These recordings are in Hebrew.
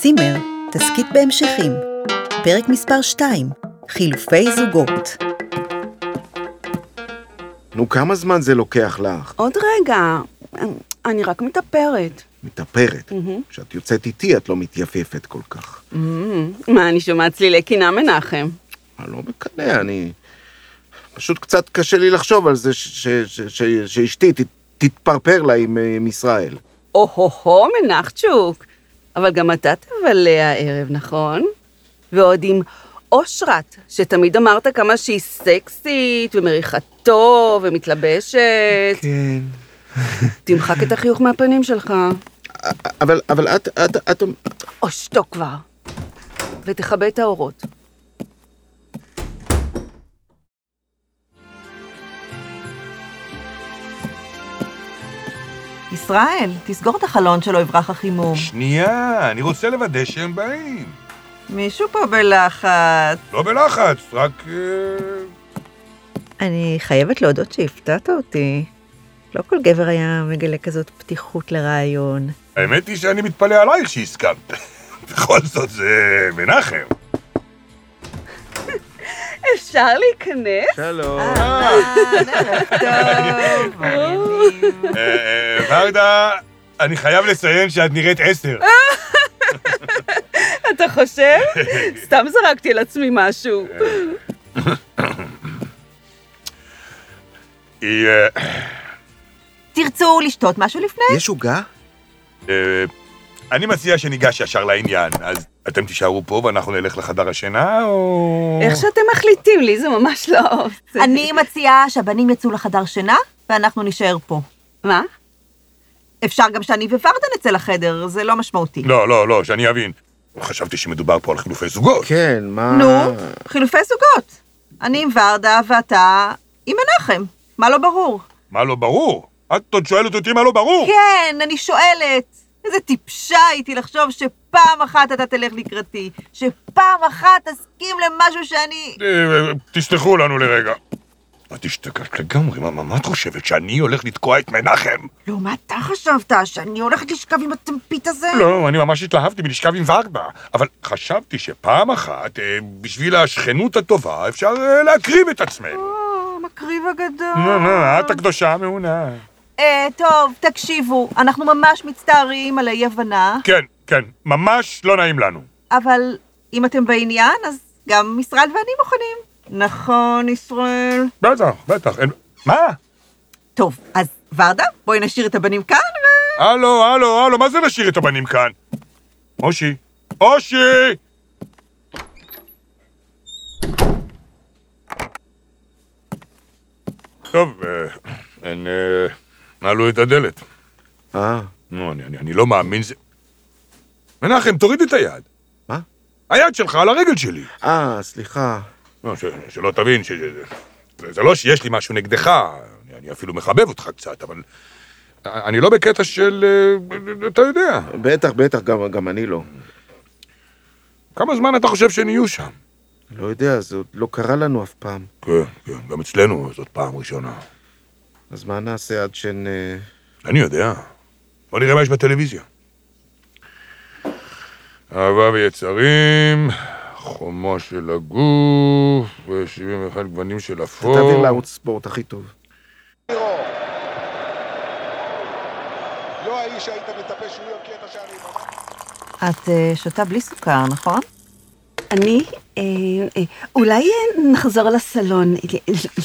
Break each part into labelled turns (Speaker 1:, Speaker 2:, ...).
Speaker 1: צימר, תסכית בהמשכים, פרק מספר 2, חילופי זוגות.
Speaker 2: נו, כמה זמן זה לוקח לך?
Speaker 3: עוד רגע, אני רק מתאפרת.
Speaker 2: מתאפרת. כשאת יוצאת איתי, את לא מתייפפת כל כך.
Speaker 3: מה, אני שומעת צלילי קינה, מנחם?
Speaker 2: אני לא מקנא, אני... פשוט קצת קשה לי לחשוב על זה ש- ש- ש- ש- שאשתי ת- תתפרפר לה עם אה, עם ישראל.
Speaker 3: או-הו-הו, מנחצ'וק. אבל גם אתה תבלה הערב, נכון? ועוד עם אושרת, שתמיד אמרת כמה שהיא סקסית ומריחתו ומתלבשת.
Speaker 2: כן.
Speaker 3: תמחק את החיוך מהפנים שלך.
Speaker 2: אבל, אבל את, את, את...
Speaker 3: או שתוק כבר. ותכבה את האורות.
Speaker 4: ישראל, תסגור את החלון שלא יברח החימום.
Speaker 5: שנייה, אני רוצה לוודא שהם באים.
Speaker 4: מישהו פה בלחץ.
Speaker 5: לא בלחץ, רק... אה,
Speaker 6: אני חייבת להודות שהפתעת אותי. לא כל גבר היה מגלה כזאת פתיחות לרעיון.
Speaker 5: האמת היא שאני מתפלא עלייך שהסכמת. בכל זאת, זה מנחם.
Speaker 3: אפשר להיכנס?
Speaker 2: שלום.
Speaker 4: אהלן, ערב טוב, מעניינים.
Speaker 5: אה, אה, ורדה, אני חייב לציין שאת נראית עשר.
Speaker 3: אתה חושב? סתם זרקתי על עצמי משהו.
Speaker 5: היא... אה,
Speaker 4: תרצו לשתות משהו לפני?
Speaker 2: יש עוגה?
Speaker 5: אה, אני מציע שניגש ישר לעניין, אז אתם תישארו פה ואנחנו נלך לחדר השינה, או...
Speaker 3: איך שאתם מחליטים, לי זה ממש לא...
Speaker 4: אני מציעה שהבנים יצאו לחדר שינה, ואנחנו נישאר פה.
Speaker 3: מה?
Speaker 4: אפשר גם שאני וורדה נצא לחדר, זה לא משמעותי.
Speaker 5: לא, לא, לא, שאני אבין. חשבתי שמדובר פה על חילופי זוגות.
Speaker 2: כן, מה...
Speaker 4: נו, חילופי זוגות. אני עם ורדה ואתה עם מנחם. מה לא ברור?
Speaker 5: מה לא ברור? את עוד שואלת אותי מה לא ברור?
Speaker 4: כן, אני שואלת. איזה טיפשה הייתי לחשוב שפעם אחת אתה תלך לקראתי, שפעם אחת תסכים למשהו שאני...
Speaker 5: אה, תסלחו לנו לרגע. את השתגעת לגמרי, מה, מה- מה את חושבת, שאני הולך לתקוע את מנחם?
Speaker 4: לא, מה אתה חשבת? שאני הולכת לשכב עם הטמפית הזה?
Speaker 5: לא, אני ממש התלהבתי מלשכב עם ורדה, אבל חשבתי שפעם אחת, אה, בשביל השכנות הטובה, אפשר אה, להקריב את עצמנו.
Speaker 4: אה, המקריב הגדול.
Speaker 5: נו, אה, נו, את הקדושה המעונה.
Speaker 4: אה, טוב, תקשיבו, אנחנו ממש מצטערים על האי-הבנה,
Speaker 5: כן, כן, ממש לא נעים לנו.
Speaker 4: אבל אם אתם בעניין, אז גם ישראל ואני מוכנים. נכון, ישראל.
Speaker 5: בטח, בטח, אין... מה?
Speaker 4: טוב, אז ורדה, בואי נשאיר את הבנים כאן ו...
Speaker 5: הלו, הלו, הלו, מה זה להשאיר את הבנים כאן? אושי, אושי! טוב, אה, הן אה, נעלו את הדלת.
Speaker 2: אה,
Speaker 5: נו, אני, אני, אני לא מאמין זה... מנחם, תוריד את היד.
Speaker 2: מה?
Speaker 5: היד שלך על הרגל שלי.
Speaker 2: אה, סליחה.
Speaker 5: לא, ש, שלא תבין, ש, ש, זה, זה לא שיש לי משהו נגדך, אני, אני אפילו מחבב אותך קצת, אבל... אני לא בקטע של... אה, אתה יודע.
Speaker 2: בטח, בטח, גם, גם אני לא.
Speaker 5: כמה זמן אתה חושב שהם יהיו שם?
Speaker 2: לא יודע, זה עוד לא קרה לנו אף פעם.
Speaker 5: כן, כן, גם אצלנו זאת פעם ראשונה.
Speaker 2: אז מה נעשה עד שהן... אה,
Speaker 5: אני יודע. בוא נראה מה יש בטלוויזיה. אהבה ויצרים, חומו של הגוף, ו-71 גוונים של אפור.
Speaker 2: תעביר לערוץ ספורט הכי טוב.
Speaker 7: לא האיש שהיית מצפה שהוא יוקיע את השערים.
Speaker 4: את אה, שותה בלי סוכר, נכון?
Speaker 3: אני, אה, אה, אולי אה, נחזור לסלון, אה,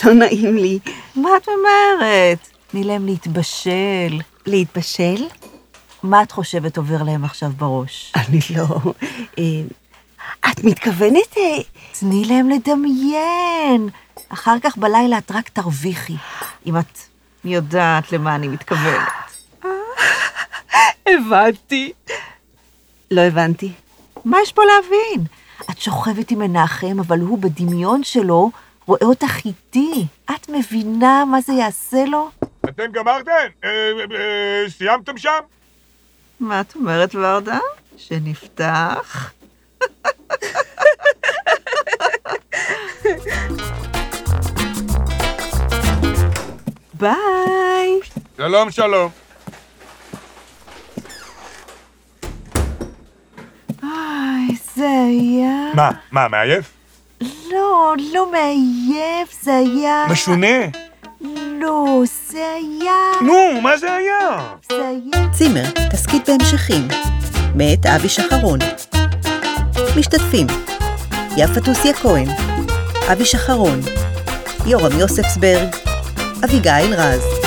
Speaker 3: לא נעים לי.
Speaker 4: מה את ממהרת? תני להם להתבשל. להתבשל? מה את חושבת עובר להם עכשיו בראש?
Speaker 3: אני לא... אה, את מתכוונת? אה,
Speaker 4: תני להם לדמיין. אחר כך בלילה את רק תרוויחי, אם את יודעת למה אני מתכוונת.
Speaker 3: הבנתי. לא הבנתי.
Speaker 4: מה יש פה להבין? את שוכבת עם מנחם, אבל הוא בדמיון שלו רואה אותך איתי. את מבינה מה זה יעשה לו?
Speaker 5: אתם גמרתם? אה, אה, סיימתם שם?
Speaker 4: מה את אומרת, ורדה? שנפתח?
Speaker 3: ביי.
Speaker 5: שלום, שלום.
Speaker 3: זה היה...
Speaker 5: מה? מה, מעייף?
Speaker 3: לא, לא מעייף, זה היה...
Speaker 5: משונה.
Speaker 3: לא, זה היה...
Speaker 5: נו, מה זה היה?
Speaker 3: זה היה...
Speaker 4: צימר, תסכית בהמשכים, מאת אבי שחרון. משתתפים יפה תוסיה כהן, אבי שחרון, יורם יוספסברג, אביגיל רז.